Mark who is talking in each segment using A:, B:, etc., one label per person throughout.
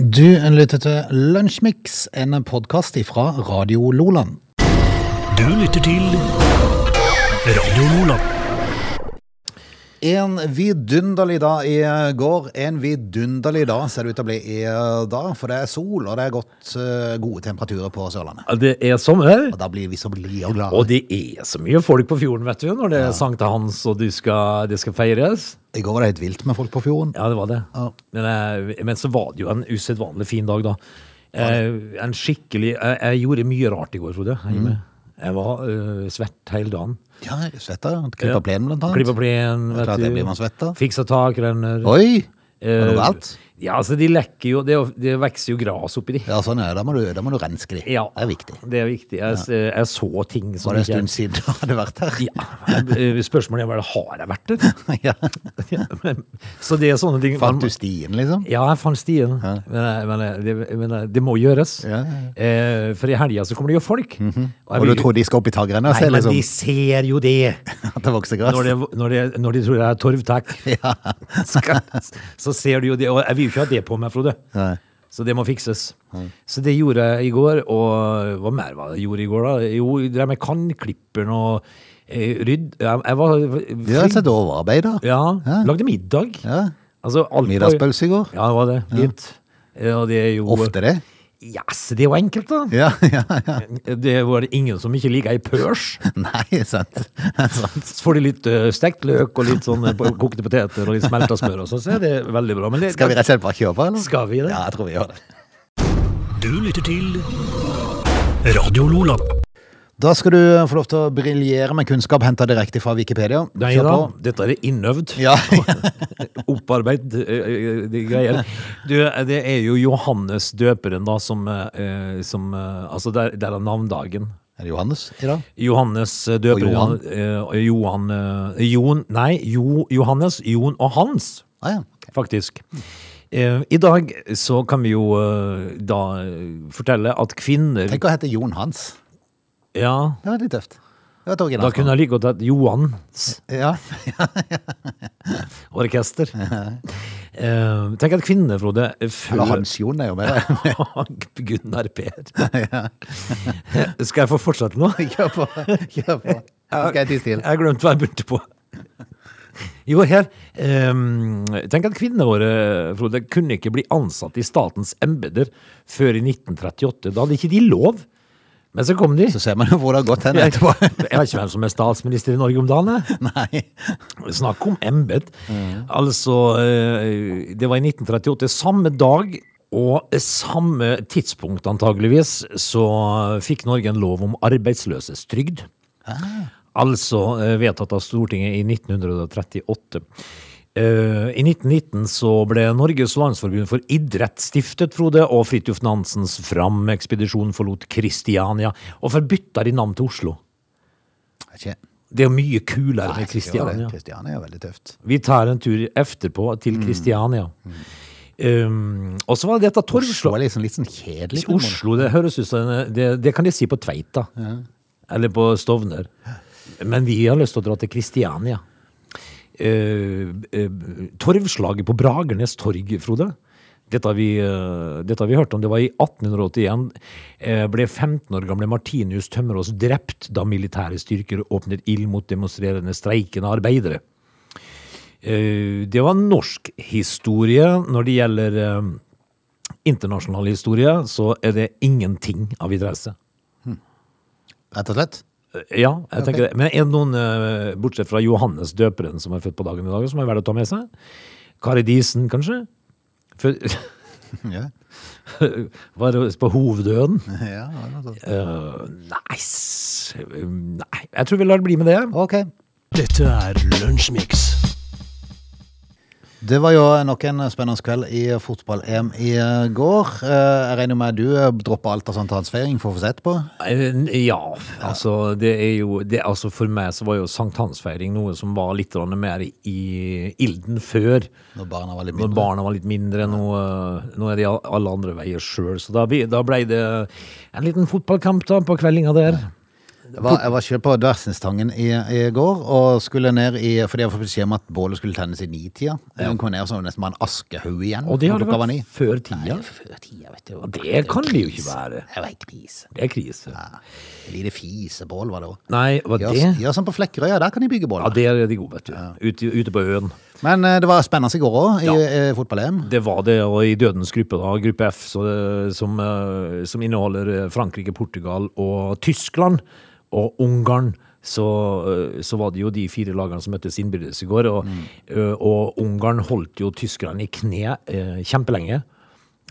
A: Du lytter til Lunsjmix, en podkast fra Radio Loland.
B: Du lytter til Radio Nordland.
A: En vidunderlig dag i går. En vidunderlig dag ser det ut til å bli i dag, for det er sol, og det er godt, eh, gode temperaturer på Sørlandet.
C: Ja, Det er sommer,
A: Og da blir vi så blide og glade.
C: og det er så mye folk på fjorden, vet du, når det er sankthans og du skal, det skal feires.
A: I går var det helt vilt med folk på fjorden.
C: Ja, det var det.
A: Ja.
C: Men, eh, men så var det jo en usedvanlig fin dag, da. Eh, en skikkelig jeg, jeg gjorde mye rart i går, Frode.
A: Mm.
C: hjemme. Jeg var eh, svett hele dagen.
A: Ja, svetta. Klippa plenen, blant annet.
C: Klippa plen,
A: Det er
C: vet
A: klart
C: du.
A: det blir man svett av.
C: Fiksa takrenner.
A: Oi! Var
C: Eh,
A: det noe galt?
C: Ja, altså, de lekker jo Det, er jo- det vokser jo gras oppi de.
A: Ja, sånn er det. Da må du, da må du renske de.
C: Ja.
A: Det er viktig.
C: Det er viktig. Jeg, s- eh, jeg så ting som
A: Var det en
C: ikke-
A: stund siden du hadde vært her?
C: Ja, eh, spørsmålet er vel, har jeg vært der?
A: Ja.
C: Ja, men- Så det er sånne ting man-
A: Fant du stien, liksom?
C: Ja, jeg fant stien men, men, det, men det må gjøres
A: Ja, ja, Mhm.
C: Eh, For i helgen så kommer det jo folk jeg
A: Og du
C: vil-
A: tror de skal opp i taggrenna og
C: Nei,
A: se
C: men de
A: liksom,
C: ser jo det
A: at det vokser gress?
C: Når de, når de, når de tror det er torvtak skal- Så ser du jo det Og jeg vil jo ikke ha det på meg, Frode
A: Nei.
C: Så det må fikses Så det gjorde jeg i går Og hva mer var det jeg gjorde i går da? Jo, det der med kannklipperen og eh, rydd Jeg, jeg var
A: De har sett overarbeid, da.
C: ja,
A: Ja.
C: lagde middag.
A: Ja.
C: Altså, alt var-
A: Middagspølse i går.
C: Ja, det var det. Litt. Ja. Og det er jo
A: Ofte det.
C: Yes, det er jo enkelt, da.
A: Ja, ja, ja.
C: Det var det ingen som ikke liker ei pørs.
A: Nei, sant. sant.
C: Så får de litt eh, stekt løk og litt sånn eh, på- kokte poteter og litt smelta smør, og sånn, så er det veldig bra. Men det,
A: Skal vi rett og slett bare kjøpe, eller?
C: Skal vi det?
A: Ja, jeg tror vi gjør det.
B: Du lytter til Radio Lola.
A: Da skal du få lov til å briljere med kunnskap henta direkte fra Wikipedia.
C: Nei
A: Kjør
C: da,
A: på.
C: dette er innøvd.
A: Ja.
C: Opparbeid eh, eh, de greier. Du, eh, det er jo Johannes døperen, da, som, eh, som eh, Altså, der, der er navndagen.
A: Er det Johannes i dag?
C: Johannes eh, døper
A: Og Johan.
C: Johan. eh, Johan eh, Jon Nei, jo, Johannes, Jon og Hans,
A: Ah, ja. ok.
C: faktisk. Eh, I dag så kan vi jo eh, da fortelle at kvinner
A: Tenk å hete Jon Hans.
C: Ja,
A: Det var litt tøft. Det var et
C: da
A: originalt.
C: kunne jeg like godt hett Johans
A: navn. Ja.
C: orkester. Eh, tenk at kvinner, Frode,
A: Eller
C: før
A: Hans Jon er jo med. det.
C: Gunnar Per. Skal jeg få fortsette nå?
A: Kjør på. Kjør på. Nå skal jeg tie stille.
C: Jeg glemte hva jeg begynte på. Jo, her ehm, Tenk at kvinnene våre Frode, kunne ikke bli ansatt i statens embeter før i 1938. Da hadde ikke de lov. Men så kom de.
A: Så ser man jo hvor det har gått hen
C: Jeg jeg
A: etterpå.
C: vet ikke hvem som er statsminister i Norge om dagen. jeg.
A: Nei.
C: Snakk om embet. Altså, eh, det var i 1938. Samme dag og samme tidspunkt antageligvis, så fikk Norge en lov om arbeidsløses trygd. Altså eh, vedtatt av Stortinget i 1938. Eh, I 1919 så ble Norges landsforbund for idrett stiftet, Frode, og Fridtjof Nansens Fram-ekspedisjon forlot Kristiania. Og forbytta de navn til Oslo.
A: Ikke.
C: Det er jo mye kulere
A: Nei,
C: med
A: ikke gjør det.
C: Kristiania.
A: Kristiania er veldig tøft.
C: Vi tar en tur etterpå til Kristiania. Um, og så var det dette
A: Oslo
C: Torvslag.
A: er liksom litt sånn kjedelig. på en måte.
C: Oslo, det høres ut som det, det kan de si på Tveita. Eller på Stovner. Men vi har lyst til å dra til Kristiania. Eh, eh, torvslaget på Bragernes torg, Frode. Dette har, vi, eh, dette har vi hørt om. Det var i 1881. eh, ble 15 år gamle Martinus Tømmerås drept da militære styrker åpnet ild mot demonstrerende streikende arbeidere. Eh, det var norsk historie når det gjelder eh, internasjonal historie, så er det ingenting av interesse. Eh,
A: Rett og slett.
C: Ja, jeg tenker det. Men er det noen, eh, bortsett fra Johannes døperen, som er født på dagen i dag, som er verdt å ta med seg? Kari Disen, kanskje? Fø-
A: Ja.
C: var det på hoveddøden?
A: Ja, det var sånn.
C: Eh, nei, s- nei, jeg tror vi lar det bli med det.
A: Ok.
B: Dette er Lunsjmix.
A: Det var jo nok en spennende kveld i fotball-EM i går. Eh, Jeg regner med at du eh, dropper alt av sankthansfeiring for å få sett på.
C: Eh, Ja, altså det er jo det, altså For meg så var jo sankthansfeiring noe som var litt grann mer i ilden før.
A: Når barna var litt
C: Når
A: mindre.
C: barna var litt mindre, nå, eh, nå er de all- alle andre veier sjøl. Så da, blir- da blei det en liten fotballkamp da på kveldinga der.
A: Jeg var, jeg var selv på Dversenstangen i, i går og skulle ned i Fordi jeg fikk beskjed om at bålet skulle tennes i nitida. Hun kom ned og så var det nesten bare en askehaug igjen.
C: Og det har
A: når
C: det
A: klokka var
C: vært
A: ni.
C: før tida.
A: Før tida, vet du.
C: Og det kan det jo ikke være.
A: Det var helt krise.
C: Det er krise.
A: Ja, Et lite fisebål var det òg.
C: Nei, var det
A: Gjør, gjør sånn på Flekkerøya, der kan de bygge bål.
C: Ja, der er de gode, vet du. Ute, ute på øen.
A: Men eh, det var spennende i går òg, i
C: Ja.
A: eh, fotball-EM.
C: Det var det, og i dødens gruppe, da, gruppe F, så, som, eh, som inneholder eh, Frankrike, Portugal og Tyskland og Ungarn. Så, eh, så var det jo de fire lagene som møttes innbyrdes i går. Og, eh, og Ungarn holdt jo tyskerne i kne eh, kjempelenge.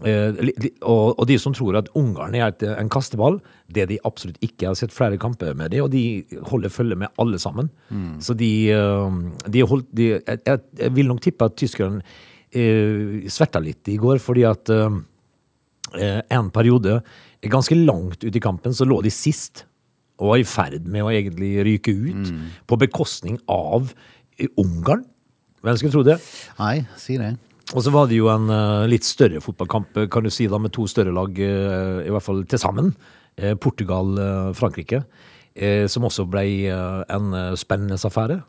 C: Eh, li- li- og, og de som tror at Ungarn er et, en kasteball, det de absolutt ikke har sett flere kamper med det, og de holder følge med alle sammen. Så de, eh, de holdt de, jeg, jeg, jeg vil nok tippe at tyskerne eh, sverta litt i går, fordi at eh, eh, en periode, ganske langt ut i kampen, så lå de sist og var i ferd med å egentlig ryke ut på bekostning av eh, Ungarn. Hvem skulle tro det?
A: Nei, si det.
C: Og så var det jo en eh, litt større fotballkamp, eh, kan du si, da, med to større lag, eh, i hvert fall til sammen. Eh, Portugal-Frankrike, som også ble eh, en eh, spennende affære.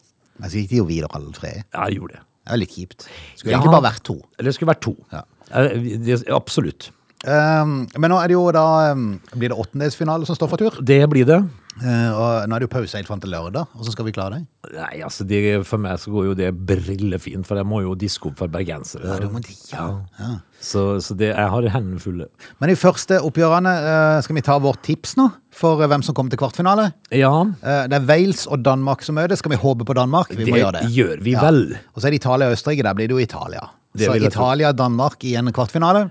A: Men så gikk de jo videre alle tre.
C: Ja, det gjorde det.
A: Det er litt kjipt. Skulle
C: Ja.
A: egentlig bare vært to.
C: Eller det skulle vært to.
A: Ja.
C: Eh, det- Absolutt.
A: Um, men nå er det jo da um, Blir det åttendelsfinale som står for tur?
C: Det blir det.
A: Eh, og nå er det jo pause helt fram til lørdag, og så skal vi klare det?
C: Nei, altså det, For meg så går jo det brillefint, for jeg må jo diske opp for bergensere.
A: Ja, du må det, ja. Ja.
C: Så, så det, jeg har hendene fulle.
A: Men de første oppgjørene eh, skal vi ta vårt tips nå, for eh, hvem som kommer til kvartfinale.
C: Ja,
A: Eh, det er Wales og Danmark som møtes. Skal vi håpe på Danmark? Vi må
C: Det
A: gjøre det.
C: gjør vi vel.
A: Og så er det Italia og Østerrike. Der blir det jo Italia.
C: Det
A: så
C: vil jeg tro.
A: Italia-Danmark i en kvartfinale.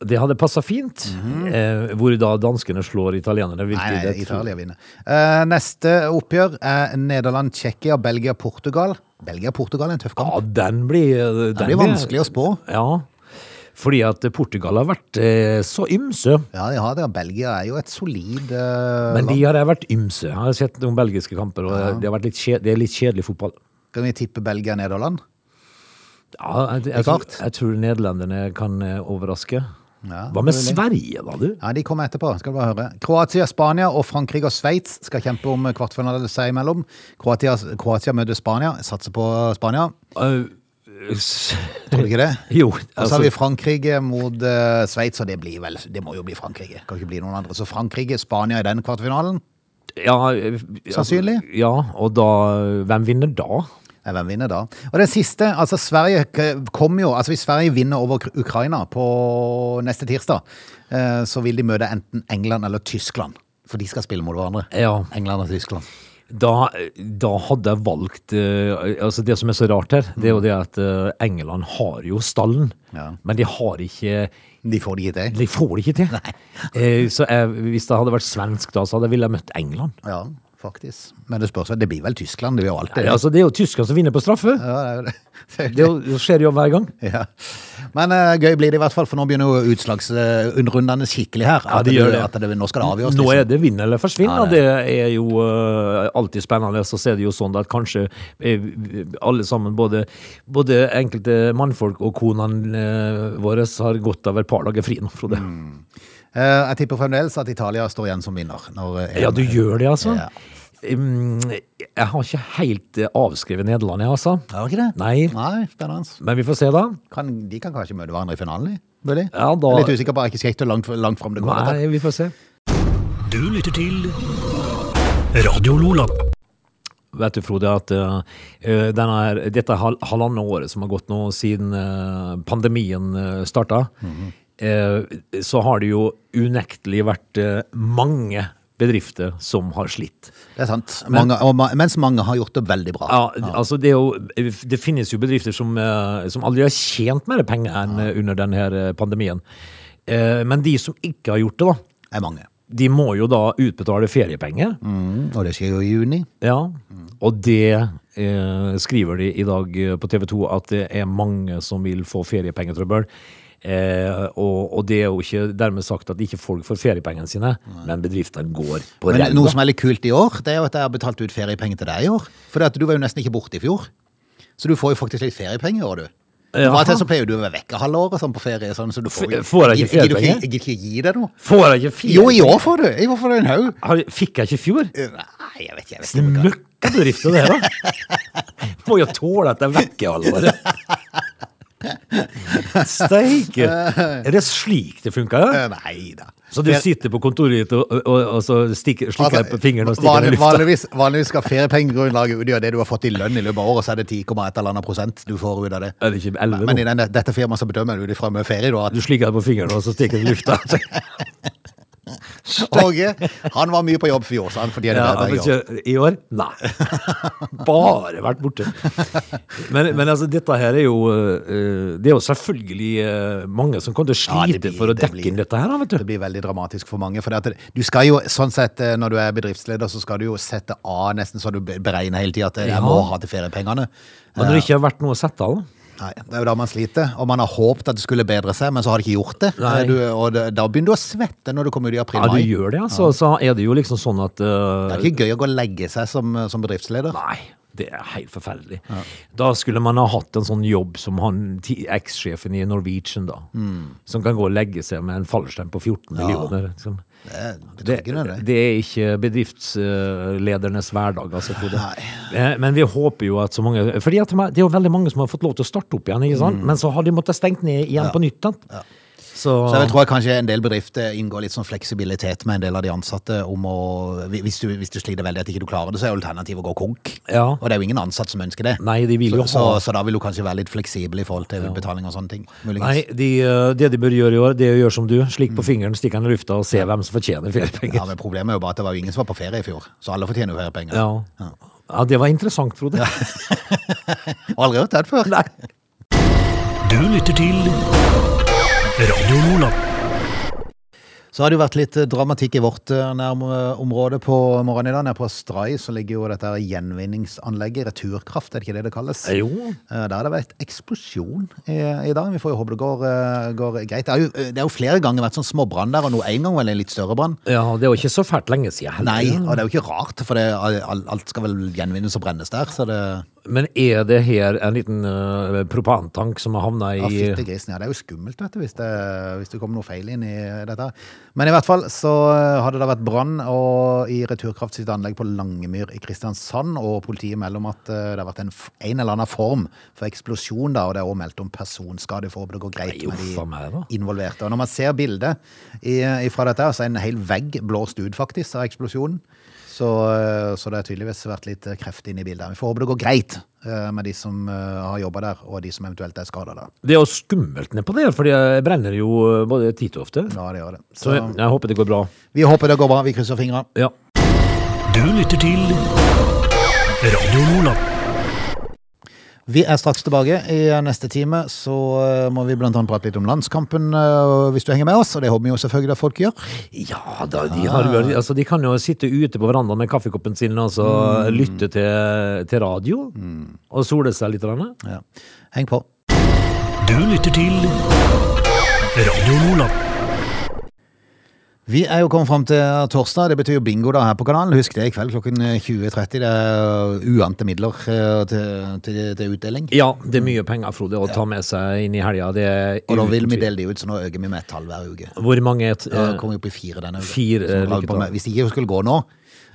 C: det hadde passa fint. eh, hvor da danskene slår italienerne.
A: Mhm. Nei,
C: Virkelig,
A: nei,
C: det tror-
A: Italia vinner. Eh, neste oppgjør er Nederland-Tsjekkia, Belgia-Portugal. Belgia-Portugal er en tøff kamp.
C: Ja, den blir Den,
A: Det blir vanskelig å spå.
C: Ja. Fordi at Portugal har vært eh, så ymse.
A: Ja, de har det. og Belgia er jo et solid eh,
C: Men de
A: land.
C: har jeg vært ymse. Jeg har sett noen belgiske kamper, og det, har vært litt kje, det er litt kjedelig fotball.
A: Kan vi tippe Belgia-Nederland?
C: Ja, jeg, jeg, tror,
A: Klart.
C: jeg tror nederlenderne kan eh, overraske.
A: Ja,
C: Hva med
A: mulig.
C: Sverige, da, du?
A: Ja, De kommer etterpå. skal du bare høre. Kroatia, Spania og Frankrike og Sveits skal kjempe om kvartfinale seg imellom. Kroatia, Kroatia møter Spania. Satser på Spania.
C: Eh, s-
A: Tror du ikke det?
C: jo,
A: Og så har vi
C: altså,
A: Frankrike mot eh, Sveits, og det blir vel, det må jo bli Frankrike. Kan ikke bli noen andre. Så Frankrike, Spania i den kvartfinalen.
C: ja, eh,
A: Sannsynlig.
C: Ja, og da Hvem vinner da?
A: Nei, Hvem vinner da? Og den siste, altså Sverige k- kommer jo Altså hvis Sverige vinner over Ukra- Ukraina på neste tirsdag, eh, så vil de møte enten England eller Tyskland. For de skal spille mot hverandre.
C: Ja.
A: England og Tyskland.
C: Da, da hadde jeg valgt eh, altså Det som er så rart her, det er jo det at eh, England har jo stallen,
A: Ja.
C: men de har ikke
A: De får det ikke til.
C: De får det ikke til. Eh, så jeg, hvis det hadde vært svensk da, så hadde jeg ville jeg møtt England.
A: Ja, faktisk. Men det spørs vel, det blir vel Tyskland, det blir jo alltid det.
C: altså, det er jo tyskerne som vinner på straffe.
A: Ja, det er jo det. Det er jo
C: Det, er jo- det skjer jo hver gang.
A: det. Ja. Men eh, gøy blir det i hvert fall, for nå begynner jo utslagsunderrundene skikkelig her.
C: Ja,
A: At
C: de
A: det-
C: gjør det.
A: At det, nå skal det avgjøres.
C: Nå
A: liksom.
C: er det vinn eller forsvinn,
A: Ja,
C: og det er jo eh, alltid spennende. Så er det jo sånn at kanskje eh, alle sammen, både, både enkelte mannfolk og konene eh, våre, har godt av et par dager fri nå, Frode.
A: Eh, jeg tipper fremdeles at Italia står igjen som vinner. Når, eh,
C: Ja, du gjør det, altså?
A: Ja.
C: Mm, Jeg har ikke helt eh, avskrevet Nederland, jeg, altså.
A: Er det ikke det?
C: Nei.
A: Nei, spennende.
C: Men vi får se, da.
A: Kan, de kan kanskje møte hverandre i finalen, de? Mulig?
C: Ja, da-
A: Jeg er Litt usikker på, jeg er ikke sikker hvor langt, langt fram det går. dette.
C: Nei, vi får se.
B: Du lytter til Radio Lola.
C: Vet du, Frode, at eh, eh, denne, her- dette hal halvannet året som har gått nå siden eh, pandemien uh, starta, eh, så har det jo unektelig vært eh, mange bedrifter som har slitt.
A: Det er sant. Mange, og, ma- mens mange har gjort det veldig bra.
C: Ja, altså det, er jo, det finnes jo bedrifter som, eh, som aldri har tjent mer penger enn eh, under denne her eh, pandemien. Eh, Men de som ikke har gjort det, da,
A: Er mange.
C: de må jo da utbetale feriepenger.
A: Mm, og det skjer jo i juni.
C: Ja, og det eh, skriver de i dag eh, på TV 2 at det er mange som vil få feriepengetrøbbel. Eh, og, og det er jo ikke dermed sagt at ikke folk får feriepengene sine, men bedriftene går på
A: Men noe som
C: ræva.
A: er litt kult i år, det er jo at jeg har betalt ut feriepenger til deg i år. For du var jo nesten ikke borte i fjor. Så du får jo faktisk litt feriepenger i år, du.
C: Jaha.
A: Av og til så pleier du å være vekke halve året sånn på ferie. Sånn, så du får, jo-
C: F- får jeg ikke
A: Gidder du
C: feriepenger?
A: Jeg gidder ikke gi deg noe.
C: Får jeg ikke ferie?
A: Jo, i år får du! I år får du en haug.
C: Har, fikk jeg ikke i fjor?
A: Nei, Nei, jeg vet ikke. Jeg vet ikke. om jeg kan-
C: Møkkabedrifter, det her, da. Må jo tåle at jeg vekker alvoret. Steike! Er det slik det funker? Ja?
A: Eh, Nei da.
C: Så du sitter på kontoret ditt og, og, og så stikker,
A: Altså,
C: slikker deg på fingeren og stikker den i
A: vanlig-
C: lufta?
A: vanligvis, vanligvis skal feriepengegrunnlaget utgjøre det du har fått i lønn i løpet av året, så er det 10,1 eller annet prosent du får ut av det.
C: Er det ikke elleve
A: Men
C: nå?
A: i denne, dette firmaet så bedømmer du det fra med ferie du har
C: Du
A: hatt.
C: slikker deg på fingeren og så stikker den i lufta?
A: Åge, han var mye på jobb for i år, sa han, fordi han
C: Ja,
A: er der
C: men
A: hver gang.
C: ikke, I år? Nei. Bare vært borte. Men, men altså, dette her er jo eh, Det er jo selvfølgelig eh, mange som kommer til å
A: Ja,
C: slite
A: det blir-
C: for å
A: det
C: dekke
A: blir-
C: inn dette her, da, vet du.
A: Det blir veldig dramatisk for mange. For det at det- du skal jo, sånn sett, eh, når du er bedriftsleder, så skal du jo sette av nesten så du be- beregner hele tida at eh, jeg
C: Ja.
A: må ha til feriepengene. Eh,
C: Men når det ikke har vært noe å sette av, da?
A: Nei, Det er jo da man sliter, og man har håpet at det skulle bedre seg, men så har det ikke gjort det. Eh,
C: Nei.
A: Du, og det, da begynner du å svette når du kommer ut i
C: Ja, du
A: april-mai.
C: gjør det, altså. Så er det jo liksom sånn at eh,
A: det er ikke gøy å gå og legge seg som, eh, som bedriftsleder.
C: Nei, det er helt forferdelig. Da skulle man ha hatt en sånn jobb som han ti- eks-sjefen i Norwegian, da.
A: Mm.
C: Som kan gå og legge seg med en fallskjerm på 14 millioner. Liksom.
A: Det er
C: Det,
A: betryggende, det.
C: det er ikke bedriftsledernes hverdag, altså. Frode. Eh, Men vi håper jo at så mange fordi at de er- det er jo veldig mange som har fått lov til å starte opp igjen, ikke
A: Mm.
C: sant? men så har de måttet stengt ned igjen på nytt. sant? Så,
A: Så jeg tror jeg kanskje en del bedrifter inngår litt sånn fleksibilitet med en del av de ansatte om å Hvis du, hvis du sliter veldig at ikke du klarer det, så er alternativet å gå konk.
C: Ja.
A: Og det er jo ingen ansatt som ønsker det.
C: Nei, de vil jo
A: så, så,
C: ha-
A: så da vil du kanskje være litt fleksibel i forhold til utbetaling og sånne ting.
C: Nei,
A: Muligens.
C: de, eh, det de bør gjøre i år, det er å gjøre som du. Slik på fingeren, stikke den i lufta og se hvem som fortjener feriepenger.
A: Mm. Ja, men Problemet er jo bare at det var jo ingen som var på ferie i fjor, så alle fortjener jo feriepenger.
C: Ja. ja, det var interessant, Frode.
A: Og aldri hørt det før.
C: Nei.
B: Du lytter til Radio Lola.
A: Så har det jo vært litt eh, dramatikk i vårt eh, nærområde på morgenen i dag. Nede på Stray så ligger jo dette her gjenvinningsanlegget, Returkraft, er det ikke det det kalles?
C: Jo.
A: Eh, Der har det vært eksplosjon i, i dag. Vi får jo håpe det går, eh, går greit. Det har jo, det har jo flere ganger vært sånn småbrann der, og nå en gang vel en litt større brann.
C: Ja, det er jo ikke så fælt lenge siden heller.
A: Nei, og det er jo ikke rart, for det, all- alt skal vel gjenvinnes og brennes der. Så det
C: Men er det her en liten eh, propantank som har havna
A: ja,
C: i
A: fytte grisen, ja, det er jo skummelt vet du, hvis det, hvis det kommer noe feil inn i dette. Men i hvert fall så har det da vært brann og i Returkraft sitt anlegg på Langemyr i Kristiansand, og politiet melder om at eh, det har vært en, f- en eller annen form for eksplosjon da, og det er også meldt om personskade. Vi får håpe det går greit
C: Nei,
A: med de
C: uffa meg, da.
A: involverte. Og når man ser bildet i, eh, fra dette, her, så er en hel vegg blåst ut faktisk av eksplosjonen. Så, eh, så det har tydeligvis vært litt eh, kreft inn i bildet. her. Vi får håpe det går greit eh, med de som eh, har jobba der, og de som eventuelt er skada der.
C: Det er jo skummelt nedpå der, for det brenner jo eh, både titt og ofte.
A: Ja, det gjør det.
C: Så
A: Så eh,
C: jeg, jeg håper det går bra.
A: vi håper det går bra. Vi krysser fingrene.
C: Ja.
B: Du lytter til Radio Lola.
A: Vi er straks tilbake. I neste time så eh, må vi blant annet prate litt om landskampen, eh, hvis du henger med oss. Og det håper vi jo selvfølgelig at folk gjør.
C: Ja da, de, har, jo- altså, de kan jo sitte ute på verandaen med kaffekoppen sin og så lytte til, til radio. Og sole seg litt. Grann.
A: Ja. Heng på.
B: Du lytter til Radio Lola.
A: Vi er jo kommet fram til eh, torsdag. Det betyr jo bingo da her på kanalen. Husk det i kveld klokken 20.30. Det er uante midler eh, til, til, til utdeling.
C: Ja, det er mye penger, Frode, å ta med seg inn i helga. Det er
A: Og da vil vi
C: utvilsomt.
A: dele de ut, så nå øker vi med et tall hver uke.
C: Hvor mange et,
A: Da
C: eh,
A: kommer vi opp i fire denne uka.
C: fire, eh,
A: Så da
C: lykke
A: kommer-
C: til.
A: Hvis det ikke skulle gå nå,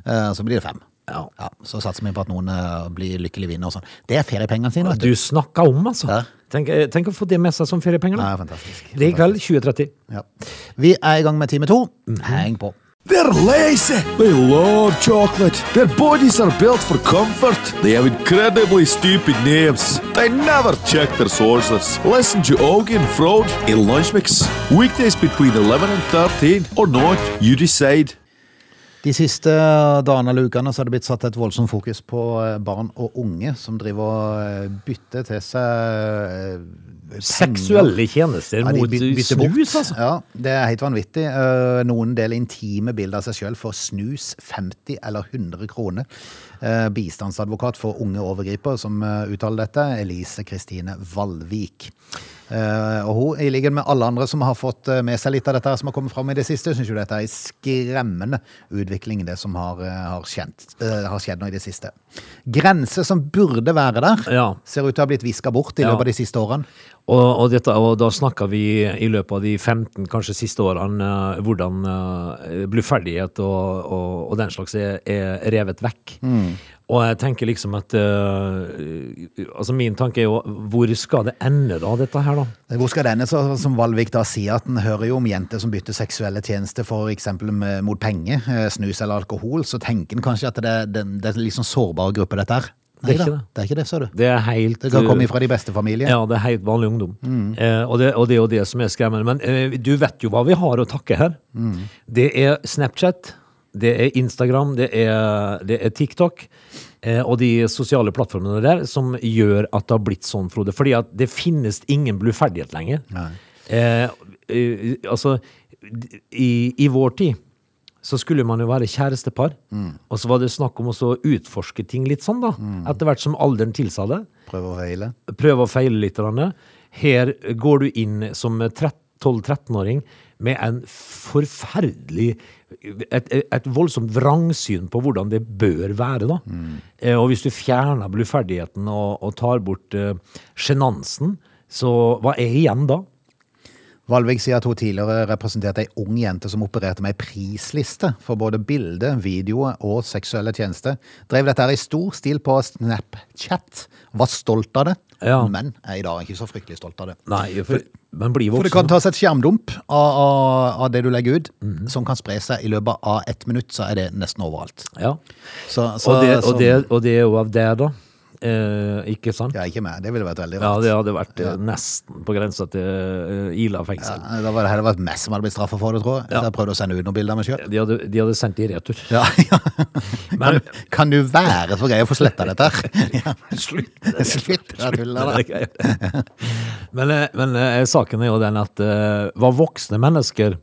A: eh, så blir det fem.
C: Ja.
A: Ja, så satser vi på at noen eh, blir lykkelig vinner og sånn. Det er feriepengene sine, vet du.
C: Du snakka om, altså.
A: Ja.
C: Tenk, eh, tenk å få det med seg som feriepenger.
A: Det
C: da.
A: er fantastisk.
C: Det er i kveld 20.30.
A: Ja. Vi er i gang med time to.
C: Mhm.
A: Heng på.
D: They're lazy. They love chocolate. Their bodies are built for comfort. They have incredibly stupid names. They never check their sources. Listen to Augie and Frode in Lunch Mix. Weekdays between 11 and 13 or not, you decide.
A: De siste eh, dagene eller ukene så har det blitt satt et voldsomt fokus på eh, barn og unge som driver og eh, bytter til seg eh, penger.
C: Seksuelle tjenester
A: Ja, de
C: mot
A: by- bytter bort.
C: snus, altså.
A: Ja, det er helt vanvittig. Eh, Noen deler intime bilder av seg sjøl for snus 50 eller 100 kroner. Eh, Bistandsadvokat for unge overgripere som eh, uttaler dette, Elise Kristine Valvik. Eh, Og hun, i likhet med alle andre som har fått eh, med seg litt av dette her som har kommet fram i det siste, syns jo dette er en skremmende utvikling, det som har, eh, har, kjent, eh, har skjedd nå i det siste. Grenser som burde være der,
C: Ja.
A: ser ut til å ha blitt viska bort i
C: Ja.
A: løpet av de siste årene.
C: Og, og, dette, og da snakka vi i løpet av de 15 kanskje siste årene eh, hvordan eh, bluferdighet og, og, og den slags er, er revet vekk.
A: Mm.
C: Og jeg tenker liksom at eh, Altså min tanke er jo hvor skal det ende da, dette her, da?
A: Hvor skal denne, så, som Valvik da sier, at en hører jo om jenter som bytter seksuelle tjenester for eksempel med, mot penger, eh, snus eller alkohol, så tenker en kanskje at det, det, det er en litt sånn sårbar gruppe dette her.
C: Det er
A: Neida,
C: ikke det.
A: Det er ikke det, sa du.
C: Det er helt
A: Det kan komme
C: eh,
A: fra de beste familier.
C: Ja, det er helt vanlig ungdom. Eh, og, det, og det er jo det som er skremmende. Men eh, du vet jo hva vi har å takke her. Det er Snapchat, det er Instagram, det er, det er TikTok. eh, og de sosiale plattformene der som gjør at det har blitt sånn, Frode. Fordi at det finnes ingen bluferdighet lenger. Eh, eh, altså, d- i, i vår tid så skulle man jo være kjærestepar. Og så var det snakk om også å utforske ting litt sånn, da. Etter hvert som alderen tilsa det
A: Prøv å feile.
C: prøve og feile litt. grann. Her går du inn som 13 12-13-åring med en forferdelig et, et voldsomt vrangsyn på hvordan det bør være. da. Eh, Og hvis du fjerner bluferdigheten og, og tar bort eh, sjenansen, så hva er igjen da?
A: Valvik sier at hun tidligere representerte ei ung jente som opererte med ei prisliste for både bilde, video og seksuelle tjenester. Drev dette her i stor stil på Snapchat. Var stolt av det,
C: Ja.
A: men er i dag ikke så fryktelig stolt av det.
C: Nei, for, men bli
A: For det kan
C: voksen.
A: tas et skjermdump av, av, av det du legger ut, som kan spre seg i løpet av ett minutt, så er det nesten overalt.
C: Ja.
A: Så, så,
C: Og, det,
A: så-
C: og, det, og det er jo av det, da. Eh, ikke sant?
A: Ja, ikke meg. Det ville vært veldig
C: Ja,
A: rart.
C: det hadde vært eh, nesten på grensa til eh, Ila fengsel.
A: Ja, da var det heller vært meg som hadde blitt straffa for det, tror jeg.
C: Ja.
A: Så jeg prøvde å sende ut noen bilder av meg sjøl.
C: De hadde, de hadde sendt det i retur.
A: Ja, ja.
C: Men
A: Kan du være så grei å få sletta dette her? Ja.
C: slutt!
A: Slutt å tulle, da.
C: Men, eh, men eh, saken er jo den at eh, hva voksne mennesker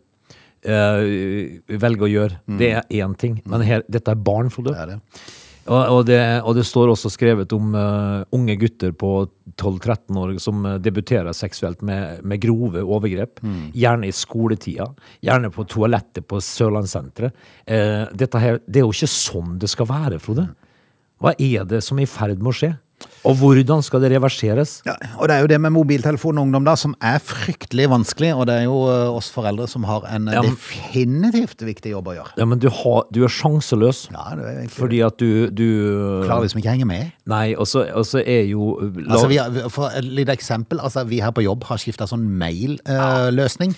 C: eh, velger å gjøre, det er én ting. Men her, dette er barn, Frode.
A: Det er det.
C: Og, og, det, og det står også skrevet om eh, unge gutter på 12-13 år som eh, debuterer seksuelt med, med grove overgrep.
A: Mm.
C: Gjerne i skoletida, gjerne på toalettet på Sørlandssenteret. Eh, dette her, det er jo ikke sånn det skal være, Frode. Hva er det som er i ferd med å skje? Og hvordan skal det reverseres?
A: Ja, og det er jo det med mobiltelefon og ungdom da, som er fryktelig vanskelig, og det er jo eh, oss foreldre som har en eh,
C: Ja, men-
A: definitivt viktig jobb å gjøre.
C: Ja, men du, har, du er sjanseløs.
A: Ja, det er egentlig
C: Fordi at du, du
A: Klarer liksom ikke å henge med.
C: Nei, og så og så er jo la-
A: Altså, vi har, for et lite eksempel, altså, vi her på jobb har skifta sånn mail-løsning.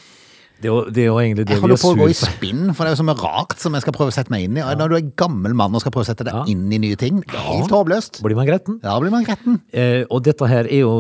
C: det, er jo, det er jo egentlig det
A: jeg
C: vi
A: holder
C: er
A: på å gå i
C: sur på.
A: spinn, for det er jo så mye rart som jeg skal prøve å sette meg inn i. Og Når du er gammel mann og skal prøve å sette deg
C: Ja.
A: inn i nye ting, helt håpløst.
C: Blir man gretten?
A: Da blir man gretten.
C: Eh, og dette her er jo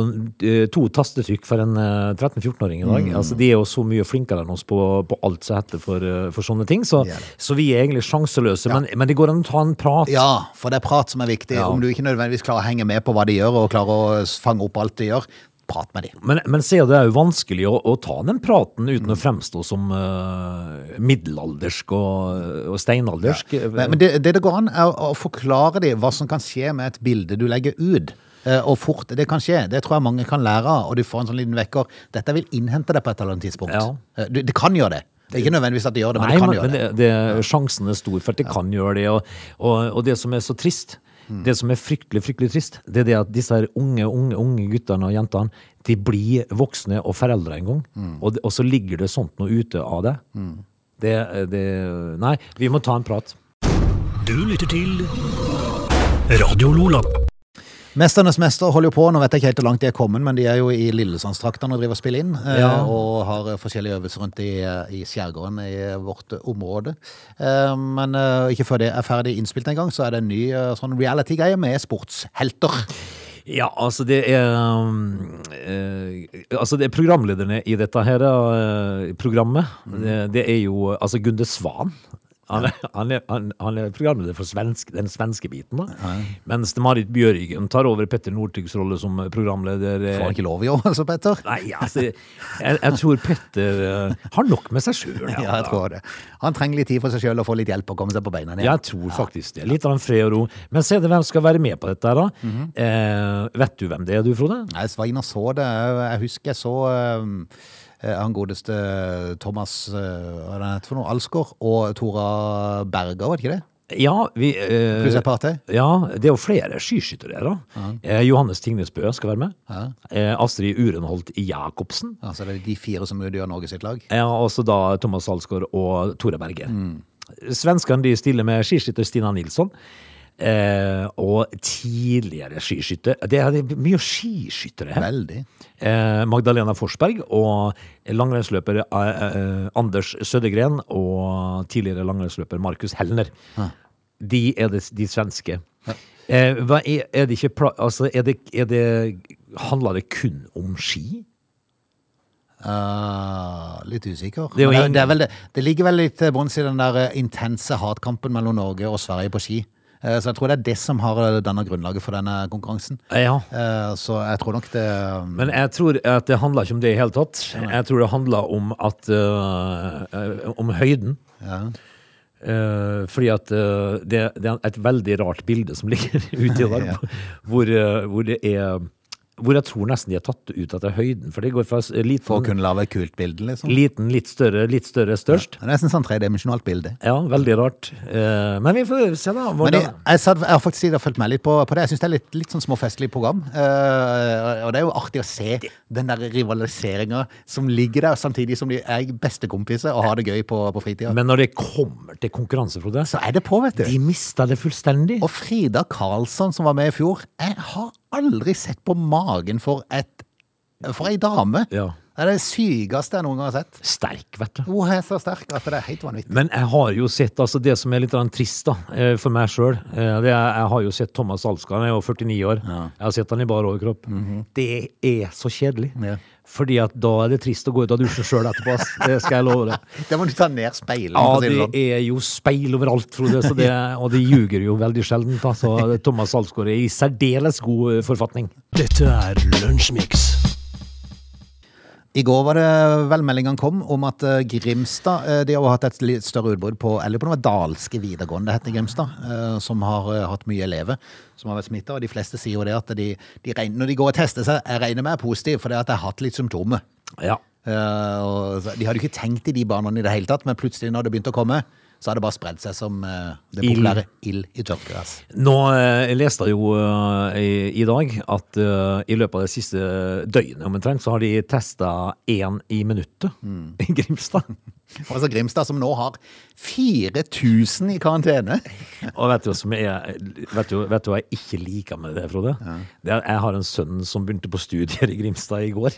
C: eh, to tastetrykk for en eh, 13-14-åring i dag.
A: Mm.
C: Altså, de er jo så mye flinkere enn oss på, på alt som heter for, eh, for sånne ting. Så,
A: De er det.
C: så vi er egentlig sjanseløse. Men, men det går an å ta en prat.
A: Ja, for det er prat som er viktig.
C: Ja.
A: Om du ikke nødvendigvis klarer å henge med på hva de gjør, og klarer å s- fange opp alt de gjør, prat med de.
C: Men, men se, det er jo vanskelig å, å ta den praten uten
A: Mm.
C: å fremstå som eh, middelaldersk og, eh, og steinaldersk.
A: Men, men det, det det går an, er å å forklare dem hva som kan skje med et bilde du legger ut. eh, Og fort det kan skje. Det tror jeg mange kan lære av. Og du får en sånn liten vekker. Dette vil innhente deg på et eller annet tidspunkt.
C: Ja.
A: Eh, Du, det kan gjøre det. Det er ikke nødvendigvis at det gjør det, men
C: Nei,
A: det kan
C: men,
A: gjøre
C: men
A: det.
C: det, det, sjansen er stor for at det kan gjøre det. Og, og, og det som er så trist, det som er fryktelig, fryktelig trist, det er det at disse her unge, unge, unge guttene og jentene, de blir voksne og foreldre en gang.
A: Mm.
C: Og, det- og så ligger det sånt noe ute av det. Det, det. Nei, vi må ta en prat.
B: Du lytter til Radio Lola.
A: Mesternes mester holder jo på. Nå vet jeg ikke helt hvor langt de er kommet, men de er jo i Lillesandstraktene og driver og spiller inn. eh,
C: Ja.
A: Og har eh, forskjellige øvelser rundt i, eh, i skjærgården i eh, vårt eh, område. Eh, Men eh, ikke før det er ferdig innspilt en gang, så er det en ny eh, sånn reality-greie med sportshelter.
C: Ja, altså det er um, eh, Altså det er programlederne i dette her eh, programmet.
A: Mm.
C: Det, det er jo altså Gunde Svan. Han er, han, er, han, han er programleder for svensk, den svenske biten, da. Mens Marit Bjørgen tar over Petter Northugs rolle som programleder. eh,
A: Får han ikke lov i år, altså, Petter?
C: Nei, altså jeg, jeg tror Petter eh, har nok med seg sjøl.
A: Ja, jeg tror det. Han trenger litt tid for seg sjøl og få litt hjelp og komme seg på beina igjen.
C: Jeg tror faktisk det. Litt av en fred og ro. Men se det, hvem skal være med på dette, her da?
A: Mhm.
C: eh, vet du hvem det er, du, Frode?
A: Nei, Sveinar så det. Jeg husker jeg så um, eh, han godeste eh, Thomas eh, hva er det han heter for noe, Alsgaard og Tora Berger, var det ikke det?
C: Ja, vi, eh,
A: Pluss et par til.
C: Ja, det er jo flere skiskyttere her. da. Eh, Johannes Tingnes Bø skal være med. Eh, Astrid Urenholt Jacobsen.
A: Altså det er de fire som utgjør Norge sitt lag.
C: Ja, også da Thomas Salsgaard og Tore Berge. Svenskene de stiller med skiskytter Stina Nilsson. Eh, og tidligere skiskytter Det er det er mye skiskyttere her.
A: Veldig.
C: Eh, Magdalena Forsberg og langrennsløper eh, eh, Anders Sødegren og tidligere langrennsløper Markus Hellner. De er det, de svenske. Eh, hva er, er det ikke pla- altså, er det, er det, Handler det kun om ski?
A: Ah, litt usikker.
C: Det er jo
A: Men
C: ingen-
A: det, er vel, det- det ligger vel litt til bunns i den der eh, intense hatkampen mellom Norge og Sverige på ski. Eh, Så jeg tror det er det som har eh, dannet grunnlaget for denne konkurransen.
C: Eh, ja.
A: Eh, Så jeg tror nok det um,
C: Men jeg tror at det handler ikke om det i hele tatt. Jeg tror det handler om at øh, øh, Om høyden. Eh, fordi at eh, det, det er et veldig rart bilde som ligger ute i dag,
A: Ja.
C: hvor, eh, hvor det er Hvor jeg tror nesten de er tatt ut etter høyden, for det går fra s- eh, liten,
A: For å kunne lage et kult bilde, liksom.
C: liten litt større, litt større, størst.
A: Det er nesten sånn tredimensjonalt bilde.
C: Ja, veldig rart. Eh, men vi får se, da.
A: Men jeg,
C: Hvordan,
A: jeg, satt, jeg har faktisk sittet og fulgt med litt på, på det. Jeg syns det er litt, litt sånn småfestlig program. Eh, og det er jo artig å se den der rivaliseringa som ligger der, samtidig som de er bestekompiser og har det gøy på, på fritida.
C: men når det kommer til konkurranse, Frode,
A: Så er det på, vet du.
C: de mista det fullstendig.
A: Og Frida Karlsson, som var med i fjor, jeg har aldri sett på magen for et For ei dame!
C: Ja.
A: Det er det sykeste jeg noen gang har sett.
C: Sterk, vet du.
A: Hun er så sterk at det er helt vanvittig.
C: Men jeg har jo sett altså det som er litt grann trist da, eh, for meg sjøl. Jeg har jo sett Thomas Alsgaard, han er jo 49 år. Jeg har sett han i bar overkropp. Det er så kjedelig.
A: Mhm. Ja.
C: Fordi at da er det trist å gå ut av dusjen sjøl etterpå. ass. Det skal jeg love deg.
A: Der må du ta ned speilet.
C: Ja,
A: for å si det sånn.
C: det er jo speil overalt, Frode, så det, og det ljuger jo veldig sjelden. Altså, Thomas Alsgaard er i særdeles god eh, forfatning.
B: Dette er Lunsjmix.
A: I går var det vel meldingene kom om at eh, Grimstad eh, De har jo hatt et litt større utbrudd på Eller på noe Dalske videregående, det heter Grimstad. eh, Som har eh, hatt mye elever som har vært smitta. Og de fleste sier jo det at de, de regner, når de går og tester seg, jeg regner med er positiv, for det at de har hatt litt symptomer.
C: Ja.
A: Eh, og så- de hadde jo ikke tenkt i de banene i det hele tatt, men plutselig når det begynte å komme, så hadde det bare spredd seg som eh, det
C: Ild.
A: populære ild i tørt gress.
C: Nå eh, jeg leste jeg jo eh, i, i dag at eh, i løpet av det siste døgnet omtrent, så har de testa én i minuttet i Grimstad.
A: Altså Grimstad, som nå har 4000 i karantene.
C: Og vet du hva som er Vet du, vet du hva jeg ikke liker med det, Frode? Det er, jeg har en sønn som begynte på studier i Grimstad i går.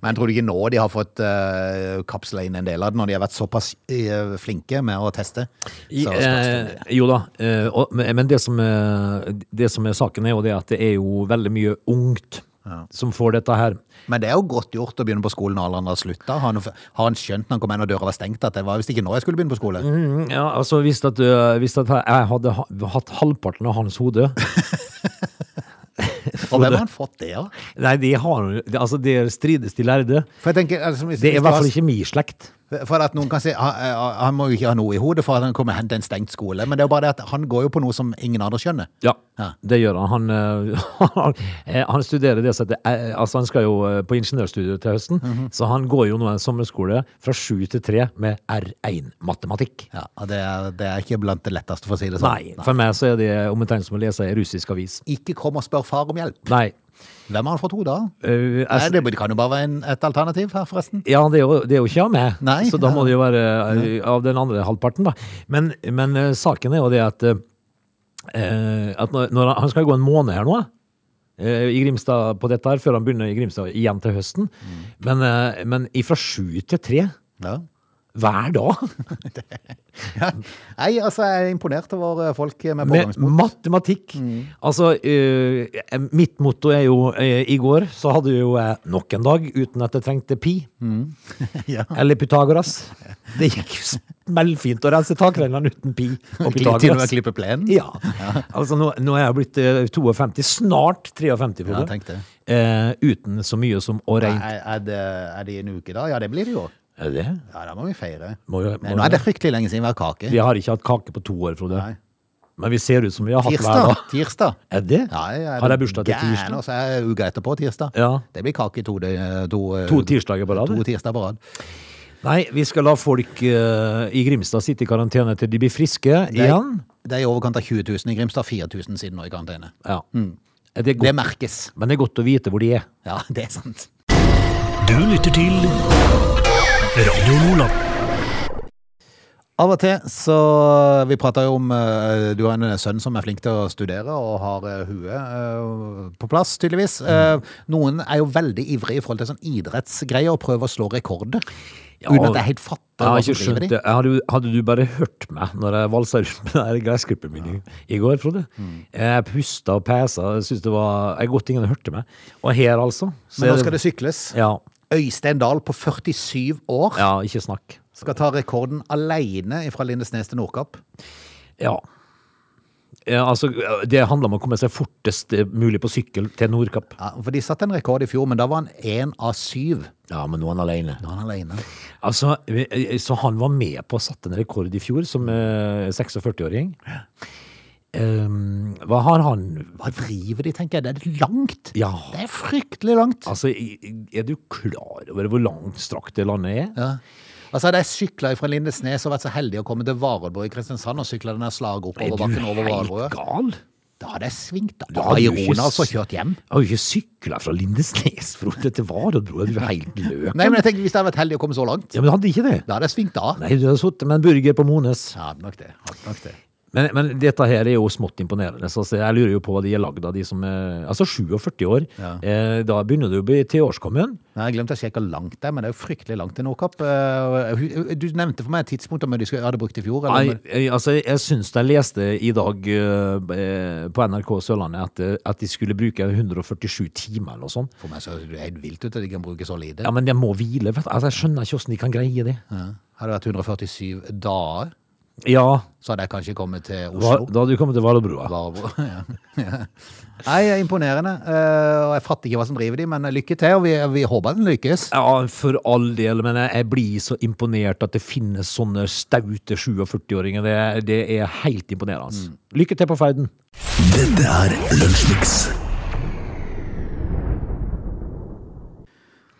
A: Men tror du ikke nå de har fått uh, kapsla inn en del av det, når de har vært såpass eh, flinke med å teste?
C: I,
A: Så spørs det om
C: eh, jo da, eh, og, men men det som, eh, det som er saken, er jo det at det er jo veldig mye ungt som får dette her.
A: det- Men det er jo godt gjort å begynne på skolen når alle andre har slutta. Har, han- har han skjønt når han kom inn og døra var stengt at det var visst ikke nå jeg skulle begynne på skole?
C: Mm, Ja, altså hvis at, øh, hvis at jeg hadde ha, hatt halvparten av hans hode
A: Og hvem har han fått det av?
C: Nei, det har hun det- Altså, det strides de lærde.
A: For jeg tenker, altså, hvis,
C: Det er i
A: hvis
C: hvert
A: du har-
C: fall ikke min slekt.
A: For at noen kan si han, han må jo ikke ha noe i hodet for at han kommer hen til en stengt skole. Men det er jo bare det at han går jo på noe som ingen andre skjønner.
C: Ja,
A: Ja.
C: det gjør han. Han, øh, eh, han studerer det som heter eh, Altså, han skal jo øh, på ingeniørstudiet til høsten,
A: Mhm.
C: så han går jo nå en sommerskole fra sju til tre med R1-matematikk.
A: Ja, og det er, det er ikke blant det letteste, for å si det sånn.
C: Nei, for meg så er det omtrent som å lese ei russisk avis.
A: Ikke kom og spør far om hjelp.
C: Nei.
A: Hvem har han fått hodet av?
C: øh,
A: Nei,
C: jeg,
A: det kan jo bare være en, et alternativ her, forresten.
C: Ja, det er jo, det er jo ikke av meg,
A: Nei.
C: så da må det jo være eh, av den andre halvparten. da. Men, men eh, saken er jo det at, eh, at når, når han, han skal gå en måned her nå eh, i Grimstad på dette her, før han begynner i Grimstad igjen til høsten. Men, eh, men ifra sju til tre
A: Ja.
C: hver dag
A: Nei, altså, jeg er imponert over eh, folk med
C: med
A: pågangsmot.
C: matematikk.
A: Mm.
C: Altså, eh, mitt motto er jo eh, I går så hadde jo jeg nok en dag uten at jeg trengte pi.
A: Mm. Ja.
C: Eller Pythagoras. Det gikk jo smellfint å rense takrennene uten pi og
A: Til og med
C: Pythagoras.
A: klippe plenen.
C: Ja. Altså, nå, nå er jeg blitt eh, 52, snart 53,
A: Ja,
C: Frode.
A: tenk det.
C: Eh, uten så mye som å
A: Er,
C: regne
A: er, det, er det en uke, da? Ja, det blir det jo.
C: Er det?
A: Ja, da må vi feire.
C: Må jo- må
A: Men nå er det fryktelig lenge siden vi har kake.
C: Vi har ikke hatt kake på to år, Frode.
A: Nei.
C: Men vi ser ut som vi har hatt hver
A: Tirsdag.
C: dag.
A: tirsdag.
C: Er det?
A: Ja, er
C: har jeg bursdag til
A: gæren,
C: tirsdag?
A: Og så er jeg uka etterpå tirsdag.
C: Ja.
A: Det blir kake Eh, to, dø- to,
C: To tirsdager på rad?
A: to tirsdag på rad.
C: Nei, vi skal la folk eh, i Grimstad sitte i karantene til de blir friske
A: Det er-
C: igjen.
A: Det er i overkant av 20 000 i Grimstad, 4000 siden nå i karantene.
C: Ja. Er Det er
A: Det
C: godt,
A: merkes.
C: men det er godt å vite hvor de er.
A: Ja, det er sant.
B: Du lytter til Radio Lola.
A: Av og til så Vi prata jo om eh, Du har en sønn som er flink til å studere og har eh, huet eh, på plass, tydeligvis.
C: Mm.
A: Eh, Noen er jo veldig ivrige i forhold til sånn idrettsgreier og prøver å slå rekorder.
C: Ja,
A: uten at jeg helt fatter
C: Jeg
A: hva som
C: har ikke
A: driver
C: skjønt
A: de.
C: det. Hadde, du- hadde du bare hørt meg når jeg valsa rundt med den her gressklipperen min i- i går, Frode? Jeg pusta og pesa. Jeg synes det var jeg godt ingen hørte meg. Og her, altså. så
A: Men
C: er
A: nå skal det sykles.
C: Ja.
A: Øystein Dahl på 47 år
C: Ja, ikke snakk.
A: skal ta rekorden aleine fra Lindesnes til Nordkapp.
C: Ja. ja. Altså, det handler om å komme seg fortest eh, mulig på sykkel til Nordkapp.
A: Ja, for de satte en rekord i fjor, men da var han én av syv.
C: Ja, men nå er han alene.
A: Da var han alene.
C: Altså, eh, så han var med på å sette en rekord i fjor som eh, 46-åring. Ehm, hva har han
A: Hva driver de, tenker jeg. Det er langt.
C: Ja.
A: Det er fryktelig langt.
C: Altså, i- i- er du klar over hvor langstrakt det landet er?
A: Ja. Altså Hadde jeg sykla fra Lindesnes og vært så heldig å komme til Varoddbrua i Kristiansand og sykla den der slaget
C: Er du
A: oppoverbakken over Varoddbrua,
C: gal?
A: da hadde jeg svingt av. Da
C: har
A: hadde
C: jo
A: jeg
C: ikke
A: roen altså
C: s-
A: kjørt hjem.
C: Jeg har jo ikke sykla fra Lindesnes Frode, til Varoddbrua, du er helt løk.
A: Nei, men jeg tenkte Hvis jeg hadde vært heldig og kommet så langt,
C: Ja, men hadde ikke det?
A: da hadde jeg svingt av.
C: Nei, du har sittet med en burger på Mones.
A: Ja, hadde nok det. Hadde nok det.
C: Men, men dette her er jo smått imponerende. Så altså, jeg lurer jo på hva de er lagd av, de som er Altså 47 år.
A: Ja.
C: Eh, da begynner du å bli tilårskommen.
A: Nei, jeg glemte å sjekke hvor langt det er, men det er jo fryktelig langt til Nordkapp. Eh, hu- Du nevnte for meg et tidspunkt om de skulle- hadde brukt i fjor. Eller,
C: Nei, jeg- altså, jeg syns jeg leste i dag eh, på NRK Sørlandet at, eh, at de skulle bruke 147 timer eller noe sånt.
A: For meg så er det helt vilt ut at de kan bruke så lite.
C: Ja, men jeg må hvile. Vet du. Altså, jeg skjønner ikke åssen de kan greie det.
A: Ja. Hadde det vært 147 dager,
C: Ja,
A: så hadde jeg kanskje kommet til
C: hva,
A: Oslo.
C: da hadde du kommet til Varoddbrua.
A: Varebro. ja. Ja. Nei, det er imponerende. eh, Og jeg fatter ikke hva som driver de, men lykke til. Og vi, vi håper den lykkes.
C: Ja, for all del, men jeg, jeg blir så imponert at det finnes sånne staute 47-åringer. Det, det er helt imponerende. altså. Lykke til på ferden.
B: Dette er Lunsjmix.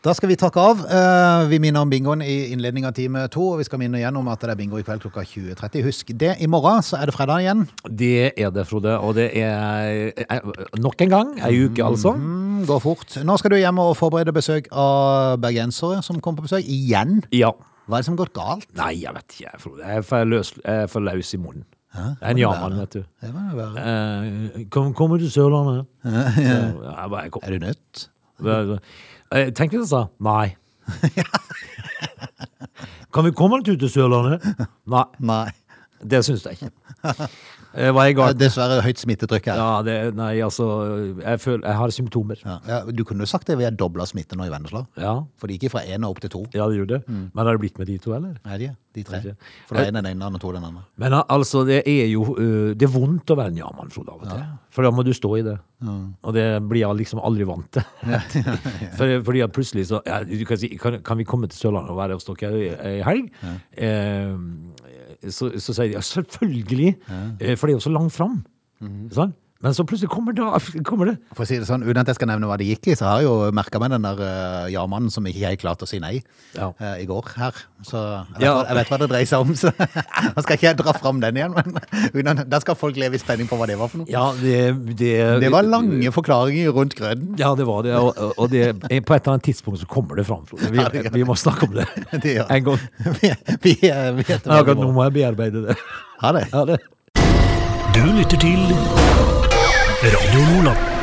A: Da skal vi takke av. Eh, Vi minner om bingoen i innledningen av time to. Og vi skal minne igjen om at det er bingo i kveld klokka 20.30. Husk det. I morgen så er det fredag igjen.
C: Det er det, Frode. Og det er eh, nok en gang ei uke, altså.
A: Mm, Går fort. Nå skal du hjem og forberede besøk av bergensere som kommer på besøk. Igjen.
C: Ja.
A: Hva er det som har gått galt?
C: Nei, jeg vet ikke, jeg, Frode. Jeg er for løs, jeg er for løs i munnen. Jeg er en ja-mann, vet du.
A: Det må jo være.
C: Eh, kom, kommer du til Sørlandet? Så, ja, jeg bare kom.
A: Er du nødt?
C: Eh, Tenk hvis jeg sa nei. Kan vi komme litt ut til Sørlandet? Nei,
A: Nei.
C: det syns jeg ikke. Eh, Hva er
A: Det er
C: galt?
A: Dessverre høyt smittetrykk her.
C: Ja, det, nei, altså, jeg, føler, jeg har symptomer.
A: Ja. Ja, Du kunne jo sagt det. Vi har dobla smitte nå i Vennesla.
C: Ja,
A: For det gikk fra én og opp til to.
C: ja det gjorde det. Men har det blitt med de to, eller?
A: Nei, de, de tre.
C: Ikke.
A: For det er en den ene og to den andre.
C: Men al- altså, det er jo eh, Det er vondt å være en ja-mann, Frode, av og til. For da må du stå i det. Og det blir jeg liksom aldri vant til. For, fordi at plutselig så ja, du kan, si, kan, kan vi komme til Sørlandet og være hos dere ei- ei helg? Eh, så, så sier de ja, selvfølgelig, eh, for det er jo så langt fram. Sant? Men så plutselig kommer, da, kommer det
A: For å si det sånn, Uten at jeg skal nevne hva det gikk i, så har jeg jo merka meg den der eh, ja-mannen som ikke helt klarte å si nei
C: Ja.
A: eh, i går her. Så jeg vet,
C: Ja.
A: hva, jeg vet hva det dreier seg om. Så da skal ikke jeg dra fram den igjen, men uten, da skal folk leve i spenning på hva det var for noe.
C: Ja, det Det,
A: Det var lange forklaringer rundt grønnen.
C: Ja, det var det. Og, og det, eh, på et eller annet tidspunkt så kommer det fram, Frode.
A: Ja, det
C: Vi,
A: gjør
C: vi må snakke om det
A: Det gjør
C: en gang.
A: Vi, vi, eh, vi heter
C: Men
A: veldig
C: akkurat nå
A: bra.
C: må jeg bearbeide det. Oh,
A: Ha det.
C: Ha det.
B: Du lytter til Radio Lola.